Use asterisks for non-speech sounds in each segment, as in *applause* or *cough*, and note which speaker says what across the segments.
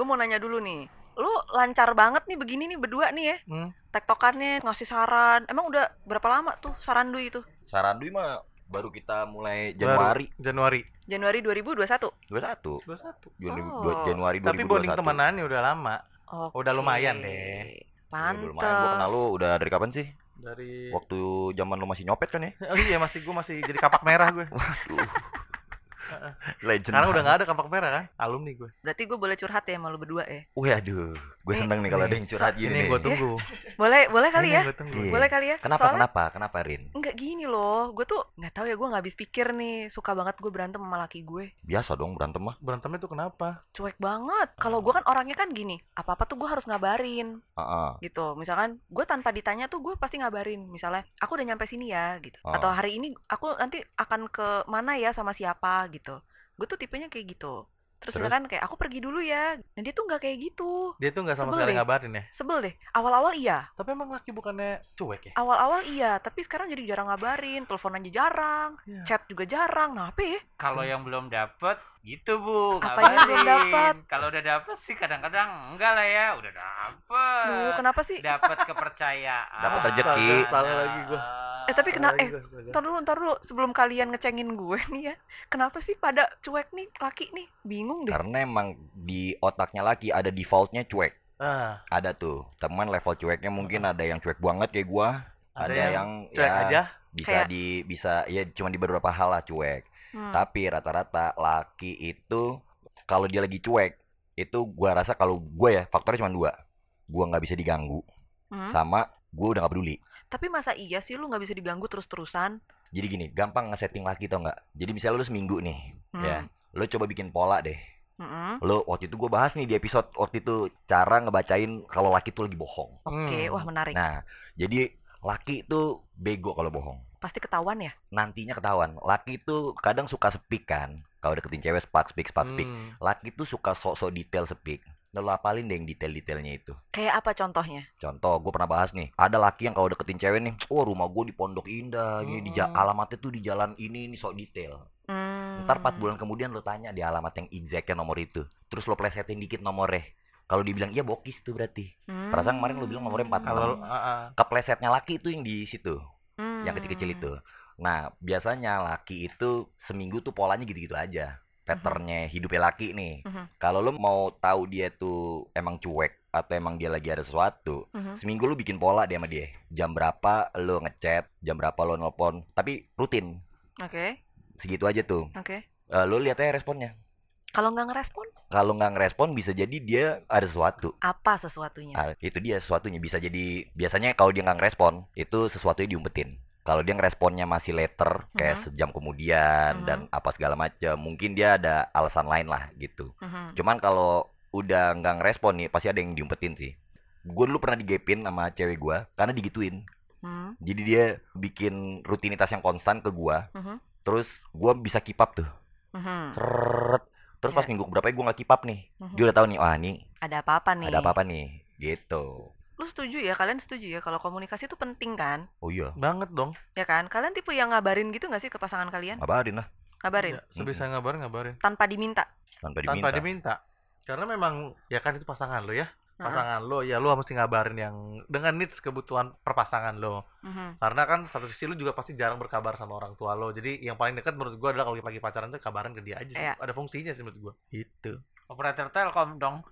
Speaker 1: mau nanya dulu nih. Lu lancar banget nih begini nih berdua nih ya.
Speaker 2: Hmm.
Speaker 1: Tektokannya ngasih saran. Emang udah berapa lama tuh saran Dwi itu?
Speaker 3: Sarandui mah baru kita mulai Januari
Speaker 2: Baru Januari
Speaker 1: Januari 2021.
Speaker 3: 21
Speaker 2: 21
Speaker 3: Juni-
Speaker 1: Oh.
Speaker 3: dua- Januari 2021
Speaker 2: tapi bonding temenannya udah lama
Speaker 1: Oke.
Speaker 2: Udah lumayan deh.
Speaker 3: Ya,
Speaker 1: Pantes.
Speaker 3: udah lumayan gue kenal lu udah dari kapan sih?
Speaker 2: dari
Speaker 3: Waktu zaman lu masih nyopet kan ya?
Speaker 2: *laughs* oh, iya masih gue masih jadi kapak merah gue
Speaker 3: Legend.
Speaker 2: sekarang udah nggak ada kapak merah kan alumni gue
Speaker 1: Berarti gue boleh curhat ya sama lu berdua ya.
Speaker 3: Wih aduh,
Speaker 1: Eh,
Speaker 3: gue seneng nih kalau ada yang curhat gini
Speaker 2: ini
Speaker 3: nih.
Speaker 2: gue tunggu
Speaker 1: Boleh, boleh kali
Speaker 2: Ini
Speaker 1: ya.
Speaker 2: yang gua tunggu.
Speaker 3: Iya.
Speaker 1: Boleh kali ya.
Speaker 3: Kenapa
Speaker 1: Soalnya
Speaker 3: kenapa kenapa Rin?
Speaker 1: Enggak gini loh, gue tuh nggak tahu ya gue nggak habis pikir nih, suka banget gue berantem sama laki gue,
Speaker 3: Biasa dong berantem mah.
Speaker 2: berantemnya tuh kenapa
Speaker 1: cuek banget. Kalau gue kan orangnya kan gini, apa apa tuh gue harus ngabarin
Speaker 3: Heeh.
Speaker 1: gitu. Misalkan gue tanpa ditanya tuh gue pasti ngabarin, misalnya aku udah nyampe sini ya gitu,
Speaker 3: Ah.
Speaker 1: atau hari ini aku nanti akan ke mana ya sama siapa gitu. Gue tuh tipenya kayak gitu. Terus,
Speaker 3: Terus?
Speaker 1: misalkan kayak aku pergi dulu ya, dan dia tuh nggak kayak gitu.
Speaker 2: dia tuh nggak sama
Speaker 1: Sebel
Speaker 2: sekali
Speaker 1: deh.
Speaker 2: ngabarin ya
Speaker 1: Sebel deh. Awal-awal iya,
Speaker 2: tapi emang laki bukannya cuek ya
Speaker 1: awal-awal iya, tapi sekarang jadi jarang ngabarin, telepon aja jarang,
Speaker 2: Iya.
Speaker 1: chat juga jarang. Nah, apa ya?
Speaker 4: Kalau yang belum dapet gitu bu
Speaker 1: Apa
Speaker 4: ngabarin.
Speaker 1: yang belum dapet?
Speaker 4: Kalau udah dapet sih kadang-kadang enggak lah ya Udah dapet
Speaker 1: Duh, kenapa sih? *laughs*
Speaker 4: Dapet kepercayaan
Speaker 3: Dapat rezeki.
Speaker 4: Nah,
Speaker 2: Salah lagi gua.
Speaker 1: Eh tapi kenapa eh
Speaker 2: Apalagi gua, astaga.
Speaker 1: Ntar dulu, ntar dulu. Sebelum kalian ngecengin gue *laughs* nih ya. Kenapa sih pada cuek nih laki nih? Bingung deh.
Speaker 3: Karena emang di otaknya laki ada defaultnya cuek.
Speaker 2: ah,
Speaker 3: Ada tuh teman level cueknya mungkin ada yang cuek banget kayak gua. Ada,
Speaker 2: Ada
Speaker 3: yang,
Speaker 2: cuek
Speaker 3: ya,
Speaker 2: aja
Speaker 3: bisa
Speaker 1: Kayak-
Speaker 3: di bisa ya cuma di beberapa hal lah cuek.
Speaker 1: Hmm.
Speaker 3: Tapi rata-rata laki itu kalau dia lagi cuek itu gua rasa kalau gua ya faktornya cuma dua. Gua nggak bisa diganggu
Speaker 1: Hmm.
Speaker 3: sama gua udah nggak peduli.
Speaker 1: Tapi masa iya sih lu nggak bisa diganggu terus-terusan?
Speaker 3: Jadi gini, gampang ngesetting laki tau nggak? Jadi misalnya lu seminggu nih,
Speaker 1: Hmm.
Speaker 3: ya, lu coba bikin pola deh.
Speaker 1: Mm-mm.
Speaker 3: Lu waktu itu gue bahas nih di episode waktu itu cara ngebacain kalau laki tuh lagi bohong.
Speaker 1: Oke,
Speaker 2: Hmm.
Speaker 1: wah menarik.
Speaker 3: Nah, jadi laki itu bego kalau bohong.
Speaker 1: Pasti ketahuan ya.
Speaker 3: Nantinya ketahuan. Laki itu kadang suka speak kan. Kalau deketin cewek spark speak spark speak.
Speaker 2: Hmm.
Speaker 3: Laki itu suka sok-sok detail speak. Nah, lu apalin deh yang detail-detailnya itu.
Speaker 1: Kayak apa contohnya?
Speaker 3: Contoh, gue pernah bahas nih, ada laki yang kalau deketin cewek nih, oh rumah gue di Pondok Indah, gini, di ja-
Speaker 2: Mm-mm.
Speaker 3: alamatnya tuh di jalan ini, ini sok detail.
Speaker 1: Hmm.
Speaker 3: Ntar 4 bulan kemudian lo tanya di alamat yang exactnya nomor itu. Terus lo plesetin dikit nomornya. Kalau dibilang iya bokis tuh berarti.
Speaker 1: Hmm.
Speaker 3: Perasaan kemarin lu bilang nomornya empat.
Speaker 2: kalau ah, ah.
Speaker 3: Keplesetnya laki itu yang di situ,
Speaker 1: Hmm.
Speaker 3: yang kecil-kecil itu. Nah, biasanya laki itu seminggu tuh polanya gitu-gitu aja. Patternnya hidupnya laki nih.
Speaker 1: Mhm.
Speaker 3: Kalau lo mau tahu dia tuh emang cuek atau emang dia lagi ada sesuatu,
Speaker 1: Mhm.
Speaker 3: seminggu lu bikin pola dia sama dia. Jam berapa lo ngechat, jam berapa lo nelpon, tapi rutin.
Speaker 1: Oke,
Speaker 3: Segitu aja tuh.
Speaker 1: oke.
Speaker 3: Eh, lo lihat aja responnya.
Speaker 1: Kalau nggak ngerespon,
Speaker 3: kalau nggak ngerespon bisa jadi dia ada sesuatu
Speaker 1: apa sesuatunya?
Speaker 3: Nah, itu dia sesuatunya bisa jadi biasanya kalau dia nggak ngerespon itu sesuatunya diumpetin kalau dia ngeresponnya masih later kayak
Speaker 1: Mhm.
Speaker 3: sejam kemudian
Speaker 1: Mhm.
Speaker 3: dan apa segala macam mungkin dia ada alasan lain lah gitu
Speaker 1: Mhm.
Speaker 3: cuman kalau udah nggak ngerespon nih pasti ada yang diumpetin sih gue dulu pernah digepin sama cewek gue karena digituin
Speaker 1: Hmm.
Speaker 3: jadi dia bikin rutinitas yang konstan ke gue
Speaker 1: Mhm.
Speaker 3: terus gue bisa keep up tuh
Speaker 1: Mhm.
Speaker 3: Seret. terus pas
Speaker 1: Iya.
Speaker 3: minggu berapa gue nggak keep up nih
Speaker 1: Mhm.
Speaker 3: dia udah tahu nih wah nih
Speaker 1: Ada apa-apa nih?
Speaker 3: ada apa-apa nih gitu
Speaker 1: Lu setuju ya? Kalian setuju ya kalau komunikasi itu penting kan?
Speaker 3: oh iya
Speaker 2: banget dong
Speaker 1: Ya kan? Kalian tipe yang ngabarin gitu nggak sih ke pasangan kalian?
Speaker 3: ngabarin lah
Speaker 1: Ngabarin
Speaker 3: Iya.
Speaker 2: Ya, sebisa ngabarin ngabarin
Speaker 1: tanpa diminta.
Speaker 3: tanpa diminta,
Speaker 2: tanpa diminta karena memang ya kan itu pasangan lo ya pasangan lo ya lo mesti ngabarin yang dengan needs kebutuhan perpasangan lo
Speaker 1: Mhm.
Speaker 2: karena kan satu sisi lo juga pasti jarang berkabar sama orang tua lo jadi yang paling dekat menurut gua adalah kalau lagi pacaran tuh kabarin ke dia aja sih
Speaker 1: Iya.
Speaker 2: ada fungsinya sih menurut gua itu
Speaker 4: Operator telkom dong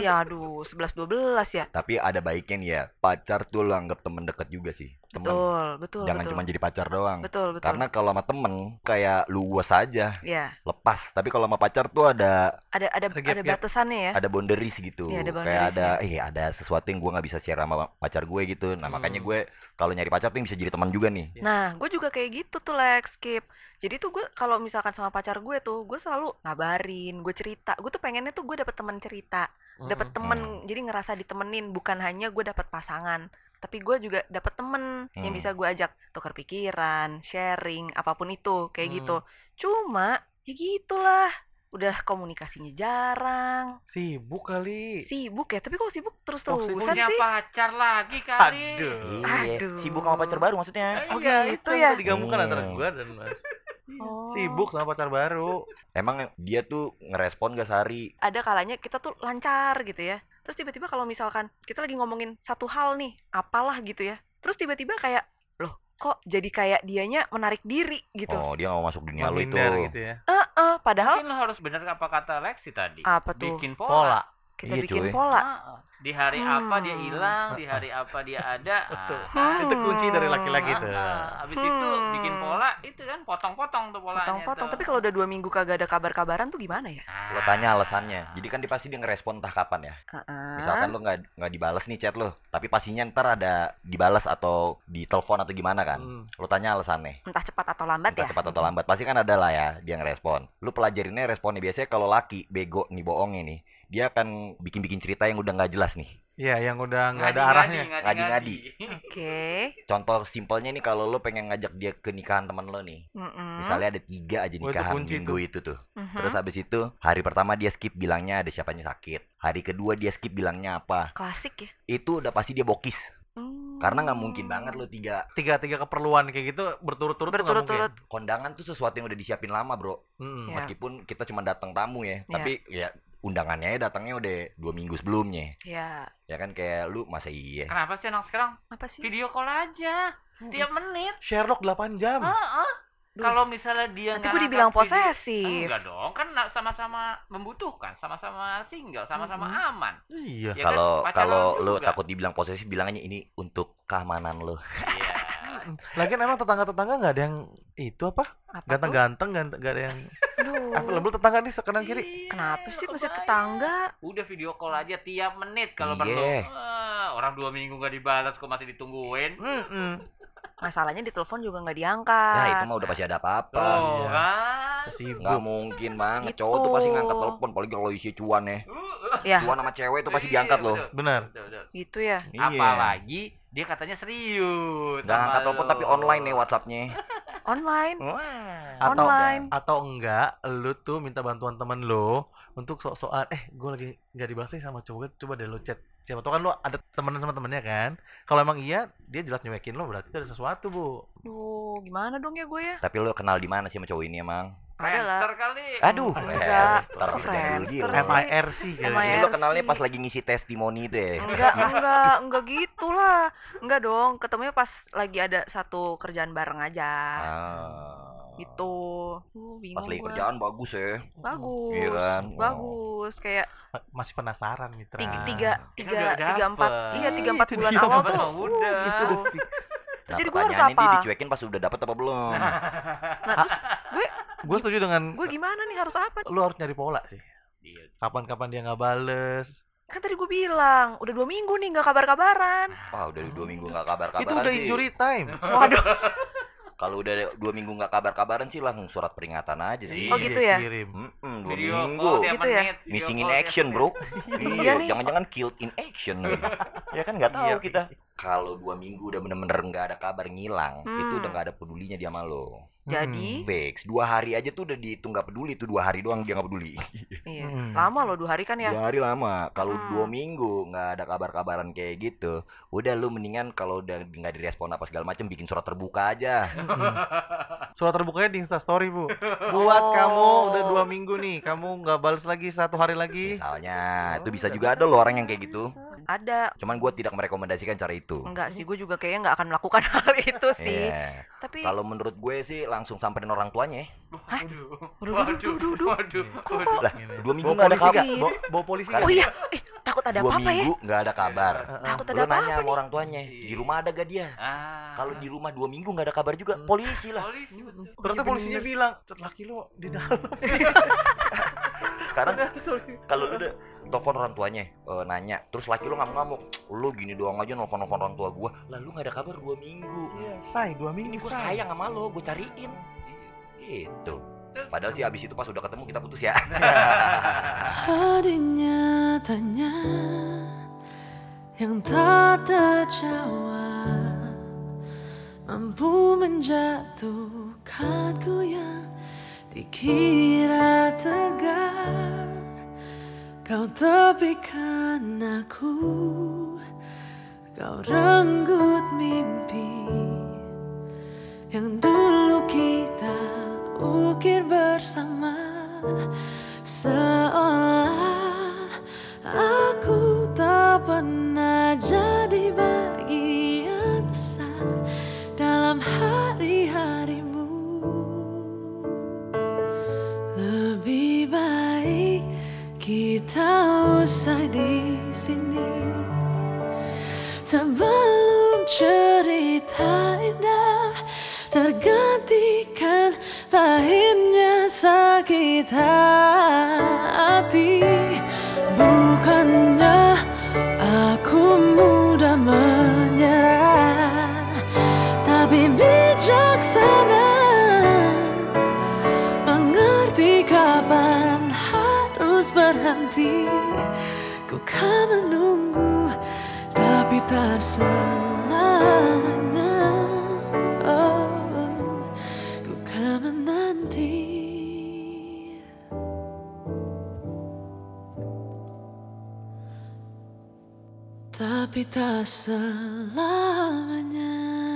Speaker 1: Ya aduh, 11 12 ya.
Speaker 3: tapi ada baiknya nih ya pacar tuh lo anggap temen deket juga sih temen
Speaker 1: Betul, betul,
Speaker 3: jangan
Speaker 1: betul.
Speaker 3: cuma jadi pacar doang
Speaker 1: betul, betul.
Speaker 3: karena kalau sama temen kayak luas aja
Speaker 1: ya,
Speaker 3: lepas tapi kalau sama pacar tuh ada
Speaker 1: ada ada
Speaker 2: Ada gap,
Speaker 1: ada
Speaker 2: gap.
Speaker 1: batasannya ya.
Speaker 3: ada boundaries gitu
Speaker 1: Iya, ada
Speaker 3: kayak
Speaker 1: boundaries-nya.
Speaker 3: ada eh ada sesuatu yang gua nggak bisa share sama pacar gue gitu nah makanya
Speaker 2: Hmm.
Speaker 3: gue kalau nyari pacar tuh yang bisa jadi teman juga nih
Speaker 1: Nah, gue juga kayak gitu tuh Lex, skip. Jadi tuh gue kalau misalkan sama pacar gue tuh, gue selalu ngabarin, gue cerita. Gue tuh pengennya tuh gue dapet teman cerita, dapet temen. Jadi ngerasa ditemenin, bukan hanya gue dapet pasangan, tapi gue juga dapet temen yang
Speaker 3: Hmm.
Speaker 1: bisa gue ajak tukar pikiran, sharing, apapun itu kayak
Speaker 2: Hmm.
Speaker 1: gitu. Cuma ya gitulah, udah komunikasinya jarang.
Speaker 2: sibuk kali
Speaker 1: sibuk ya tapi kok sibuk terus
Speaker 2: Oh, sibuk.
Speaker 1: terusan
Speaker 4: Punya
Speaker 1: sih
Speaker 4: pacar lagi kali
Speaker 2: Aduh.
Speaker 3: Iya,
Speaker 1: Aduh.
Speaker 3: sibuk sama pacar baru maksudnya
Speaker 1: Oh,
Speaker 2: Iya,
Speaker 1: gitu
Speaker 2: itu
Speaker 1: ya.
Speaker 2: yang digabungkan
Speaker 3: Hmm.
Speaker 2: antara gua dan mas
Speaker 1: Oh.
Speaker 2: Sibuk sama pacar baru.
Speaker 3: Emang dia tuh ngerespon gak sehari?
Speaker 1: ada kalanya kita tuh lancar gitu ya terus tiba-tiba kalau misalkan kita lagi ngomongin satu hal nih apalah gitu ya terus tiba-tiba kayak loh kok jadi kayak dianya menarik diri gitu
Speaker 3: Oh, dia gak mau masuk dunia lu itu.
Speaker 2: Menghindar gitu ya.
Speaker 1: Eh, eh, padahal
Speaker 4: Mungkin lo harus bener apa kata Lexi tadi.
Speaker 1: Apa tuh?
Speaker 4: Bikin
Speaker 2: Pola.
Speaker 4: pola.
Speaker 1: kita
Speaker 3: Iya,
Speaker 1: bikin
Speaker 3: cuy.
Speaker 1: pola Hmm.
Speaker 4: Ah, Di hari apa dia hilang, di hari apa dia ada.
Speaker 2: *laughs* Betul. gitu.
Speaker 4: Ah,
Speaker 2: Itu kunci dari laki-laki
Speaker 4: ah,
Speaker 2: tuh.
Speaker 4: ah. Abis itu
Speaker 1: Hmm.
Speaker 4: bikin pola, itu kan potong-potong tuh polanya.
Speaker 1: potong-potong
Speaker 4: tuh.
Speaker 1: tapi kalau udah dua minggu kagak ada kabar-kabaran tuh gimana ya
Speaker 4: Ah.
Speaker 3: Lo tanya alasannya. Jadi kan dia pasti dia ngerespon entah kapan ya.
Speaker 1: Heeh.
Speaker 3: Misalkan lo nggak nggak dibales nih chat lo, tapi pastinya ntar ada dibales atau ditelepon atau gimana kan?
Speaker 2: Hmm.
Speaker 3: Lo tanya alasannya.
Speaker 1: entah cepat atau lambat
Speaker 3: Entah
Speaker 1: ya
Speaker 3: cepat atau lambat pasti kan ada lah ya dia ngerespon. Lu pelajarinnya responnya biasanya kalau laki bego nih bohongnya nih, dia akan bikin-bikin cerita yang udah nggak jelas nih.
Speaker 2: Iya, yang udah nggak ada
Speaker 4: Ngadi-ngadi,
Speaker 2: arahnya.
Speaker 4: ngadi-ngadi.
Speaker 1: oke
Speaker 3: Contoh simpelnya nih kalau lu pengen ngajak dia ke nikahan temen lo nih.
Speaker 1: Mm-mm.
Speaker 3: Misalnya ada tiga aja
Speaker 2: Oh, itu
Speaker 3: nikahan
Speaker 2: kunci
Speaker 3: minggu
Speaker 2: tuh.
Speaker 3: itu tuh.
Speaker 1: Mhm.
Speaker 3: Terus habis itu hari pertama dia skip bilangnya ada siapanya sakit. Hari kedua dia skip bilangnya apa.
Speaker 1: klasik ya
Speaker 3: Itu udah pasti dia bokis.
Speaker 1: Hmm.
Speaker 3: Karena nggak mungkin banget lu tiga
Speaker 2: Tiga-tiga keperluan kayak gitu berturut-turut tuh nggak
Speaker 1: berturut-turut
Speaker 3: kondangan tuh sesuatu yang udah disiapin lama bro.
Speaker 2: mungkin.
Speaker 4: Iya.
Speaker 1: Ya.
Speaker 2: Mm.
Speaker 3: Meskipun kita cuma datang tamu ya,
Speaker 1: Iya.
Speaker 3: tapi ya undangannya ya datangnya udah dua minggu sebelumnya.
Speaker 1: ya
Speaker 3: Ya kan kayak lu masa iya.
Speaker 4: Kenapa sih anak sekarang
Speaker 1: apa sih
Speaker 4: video call aja tiap menit?
Speaker 2: Sherlock 8 jam.
Speaker 1: Oh.
Speaker 4: Ah, ah. Kalau misalnya dia
Speaker 1: Hmm. nanti
Speaker 4: nggak
Speaker 1: gue dibilang
Speaker 4: ngangkat video-
Speaker 1: posesif
Speaker 4: Enggak dong, kan na- sama-sama membutuhkan, sama-sama single, sama-sama
Speaker 1: Mm-mm.
Speaker 4: aman.
Speaker 2: Iya.
Speaker 4: Ya kan,
Speaker 3: Kalau
Speaker 4: pacaran
Speaker 3: kalau lu
Speaker 4: juga.
Speaker 3: takut dibilang posesif bilangnya ini untuk keamanan lu.
Speaker 4: Iya.
Speaker 2: Lagian emang tetangga-tetangga nggak ada yang itu apa?
Speaker 1: apa tuh?
Speaker 2: Ganteng-ganteng, ganteng nggak ada yang
Speaker 1: Aduh.
Speaker 2: available tetangga nih kanan kiri.
Speaker 4: Iya,
Speaker 1: kenapa sih masih
Speaker 4: kebayang.
Speaker 1: tetangga
Speaker 4: Udah video call aja tiap menit kalau
Speaker 3: Iya.
Speaker 4: perlu. Eh, orang dua minggu gak dibalas kok masih ditungguin.
Speaker 1: Hmm.
Speaker 2: Mm-mm.
Speaker 1: masalahnya di telepon juga nggak
Speaker 4: Ah.
Speaker 1: diangkat
Speaker 3: Nah, itu mah udah pasti ada apa-apa.
Speaker 4: Tuh
Speaker 2: iya.
Speaker 4: kan.
Speaker 2: Sibuk.
Speaker 3: Nggak mungkin banget. Cowok
Speaker 1: Gitu.
Speaker 3: tuh pasti ngangkat telepon paling kalau isi cuan ya.
Speaker 4: Uh, uh.
Speaker 1: ya
Speaker 3: Cuan sama cewek tuh pasti
Speaker 4: Iya,
Speaker 3: diangkat loh.
Speaker 4: betul,
Speaker 2: Benar.
Speaker 4: betul, betul.
Speaker 1: gitu ya
Speaker 3: Iya.
Speaker 4: Apalagi dia katanya serius.
Speaker 3: Nggak
Speaker 4: sama
Speaker 3: angkat telepon
Speaker 4: lo.
Speaker 3: tapi online ya, nih WhatsApp-nya.
Speaker 1: online
Speaker 3: Wah.
Speaker 2: Atau-
Speaker 1: online
Speaker 2: Atau enggak, lu tuh minta bantuan temen lu untuk sok-sokan, eh gue lagi nggak dibahas nih sama cowok, coba deh lu chat. Siapa tau kan lu ada temenan sama temennya kan? Kalau emang iya, dia jelas nyuekin lo berarti ada sesuatu bu.
Speaker 1: Duh, gimana dong ya gue ya?
Speaker 3: Tapi lu kenal di mana sih sama cowok ini emang?
Speaker 1: Ada lah.
Speaker 4: Friendster kali.
Speaker 3: Aduh,
Speaker 1: Enggak.
Speaker 3: Friendster,
Speaker 1: Kok
Speaker 3: jadul
Speaker 1: Friendster
Speaker 3: gila.
Speaker 1: sih?
Speaker 2: MIRC
Speaker 3: Ini
Speaker 2: kayaknya.
Speaker 4: Iya
Speaker 3: lo
Speaker 1: IRC.
Speaker 3: kenalnya pas lagi ngisi testimoni itu ya.
Speaker 1: Enggak, enggak, enggak gitu lah. Enggak dong, ketemunya pas lagi ada satu kerjaan bareng aja.
Speaker 3: Ah.
Speaker 1: Gitu. Uh, bingung
Speaker 3: Pas lagi
Speaker 1: gua.
Speaker 3: kerjaan bagus ya.
Speaker 1: Bagus.
Speaker 3: Iya kan? Oh.
Speaker 1: Bagus kayak
Speaker 2: Ma- Masih penasaran Mitra.
Speaker 1: tiga tiga tiga,
Speaker 4: udah
Speaker 1: tiga empat
Speaker 4: dapet.
Speaker 1: iya tiga empat
Speaker 2: Itu
Speaker 1: bulan
Speaker 2: dia.
Speaker 1: awal
Speaker 4: Dapet
Speaker 1: tuh
Speaker 4: sama Bunda.
Speaker 1: uh,
Speaker 2: Itu
Speaker 1: gitu.
Speaker 2: udah fix.
Speaker 3: Nah,
Speaker 1: Jadi gua harus
Speaker 3: pertanyaannya
Speaker 1: apa?
Speaker 3: Dia dicuekin pas udah dapat apa belum?
Speaker 1: nah terus gue
Speaker 2: Gue setuju dengan
Speaker 1: gue gimana nih harus apa
Speaker 2: lu harus nyari pola sih.
Speaker 4: Iya.
Speaker 2: Kapan-kapan dia nggak bales.
Speaker 1: kan tadi gue bilang udah dua minggu nih nggak kabar kabaran
Speaker 3: Wah udah dua minggu nggak kabar
Speaker 2: Itu
Speaker 3: kabaran
Speaker 2: udah
Speaker 3: sih.
Speaker 2: injury time.
Speaker 1: waduh
Speaker 3: Kalau udah dua minggu nggak kabar kabaran sih langsung surat peringatan aja sih.
Speaker 1: Oh, gitu ya?
Speaker 2: Iya, Kirim.
Speaker 3: Mm-mm, dua
Speaker 4: Video
Speaker 3: minggu.
Speaker 4: call tiap
Speaker 1: Gitu ya?
Speaker 4: menit. video
Speaker 3: Missing in
Speaker 4: call tiap
Speaker 3: action
Speaker 1: *laughs*
Speaker 4: menit.
Speaker 3: bro.
Speaker 1: Iya nih.
Speaker 3: Jangan-jangan killed in
Speaker 1: *laughs*
Speaker 3: action. ya kan nggak tahu
Speaker 2: Iya.
Speaker 3: kita. Kalau dua minggu udah bener-bener nggak ada kabar ngilang,
Speaker 1: Hmm.
Speaker 3: itu udah nggak ada pedulinya dia sama lo.
Speaker 1: jadi
Speaker 3: Fix, dua hari aja tuh udah dihitung nggak peduli tuh dua hari doang dia nggak peduli.
Speaker 1: iya.
Speaker 2: Hmm.
Speaker 1: lama loh dua hari kan ya
Speaker 3: Dua hari lama. Kalau
Speaker 1: Hmm.
Speaker 3: dua minggu nggak ada kabar-kabaran kayak gitu, udah lu mendingan kalau udah nggak direspon apa segala macam bikin surat terbuka aja.
Speaker 2: Hmm,
Speaker 3: *laughs*
Speaker 2: Surat terbukanya di Instastory bu. Buat
Speaker 1: Oh.
Speaker 2: kamu udah dua minggu nih, kamu nggak balas lagi satu hari lagi.
Speaker 3: Ya, Misalnya, itu bisa juga ada loh orang yang kayak gitu.
Speaker 1: ada
Speaker 3: Cuman gua tidak merekomendasikan cara itu.
Speaker 1: Enggak sih, gue juga kayaknya nggak akan melakukan *laughs* hal itu sih.
Speaker 3: Iya.
Speaker 1: Tapi
Speaker 3: Kalau menurut gue sih langsung samperin orang tuanya. ya.
Speaker 4: Waduh.
Speaker 1: Waduh,
Speaker 4: Waduh.
Speaker 1: waduh, waduh.
Speaker 4: Waduh. Waduh.
Speaker 3: Lah,
Speaker 2: Gini.
Speaker 3: dua minggu
Speaker 2: Eh, Bawa
Speaker 3: nggak ada
Speaker 2: polisi
Speaker 3: kabar.
Speaker 2: nggak? Bawa, bawa polisi
Speaker 3: Karena
Speaker 1: oh
Speaker 2: nggak?
Speaker 1: iya, eh, takut ada
Speaker 3: kan dua
Speaker 1: apa-apa ya?
Speaker 3: minggu nggak ada kabar.
Speaker 1: Takut ada
Speaker 3: Lu nanya
Speaker 1: apa-apa
Speaker 3: sama
Speaker 1: nih?
Speaker 3: orang tuanya, di rumah ada gak dia?
Speaker 4: Ah.
Speaker 3: Kalau di rumah dua minggu nggak ada kabar juga,
Speaker 2: Hmm.
Speaker 3: polisi lah.
Speaker 4: polisi betul.
Speaker 2: Ternyata
Speaker 1: iya
Speaker 2: polisinya bilang, "Cet, laki lu di dalam.
Speaker 3: Sekarang kalau lu udah telepon orang tuanya eh, nanya terus laki lu ngamuk-ngamuk lu gini doang aja nelfon nelfon orang tua gua lalu nggak ada kabar dua minggu
Speaker 2: Iya, say dua
Speaker 3: ini
Speaker 2: minggu
Speaker 3: gua
Speaker 2: say.
Speaker 3: sayang sama lo gua cariin
Speaker 4: Iya.
Speaker 3: gitu padahal sih abis itu pas udah ketemu kita putus ya
Speaker 5: Ada nyatanya yang tak terjawab Mampu menjatuhkanku yang dikira tegar Kau tepikan aku Kau renggut mimpi yang dulu kita ukir bersama Seolah aku tak pernah jadi bagian besar Dalam hari-harimu lebih baik kita usai di sini sebelum cerita indah tergantikan pahitnya sakit hati. Bukannya aku mudah menyerah, tapi bijaksana mengerti kapan harus berhenti Ku kan menunggu tapi tak selamanya oh, Ku kan menanti Tapi tak selamanya